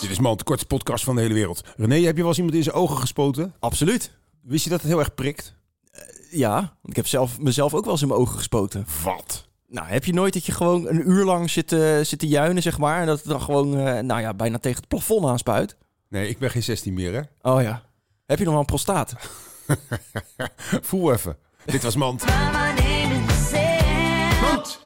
Dit is man, de kortste podcast van de hele wereld. René, heb je wel eens iemand in zijn ogen gespoten? Absoluut. Wist je dat het heel erg prikt? Eh, Ja, want ik heb zelf, mezelf ook wel eens in mijn ogen gespoten. Wat? Nou, heb je nooit dat je gewoon een uur lang zit, eh, zit te juinen, zeg maar... en dat het dan gewoon, eh, nou ja, bijna tegen het plafond aanspuit? Nee, ik ben geen 16 meer, hè? Oh ja. Heb je nog wel een prostaat? Voel even. Dit was Mand. Mama didn't say.